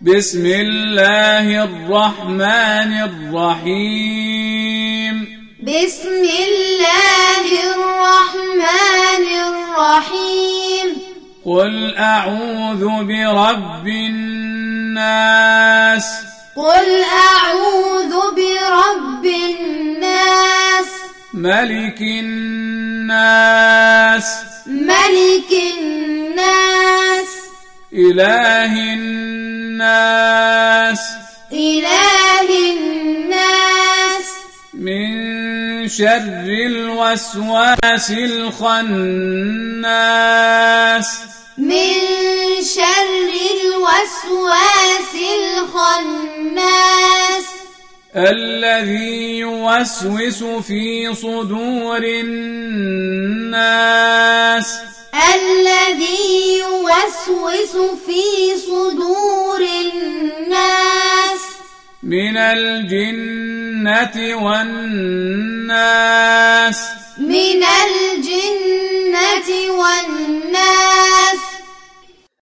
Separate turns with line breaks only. بسم الله الرحمن الرحيم
بسم الله الرحمن الرحيم
قل أعوذ برب الناس
قل أعوذ برب الناس
ملك الناس
ملك الناس
إله الناس
إله الناس
من شر الوسواس الخناس
من شر الوسواس الخناس
الذي يوسوس في صدور الناس
الذي يوسوس في صدور الناس
من الجنة والناس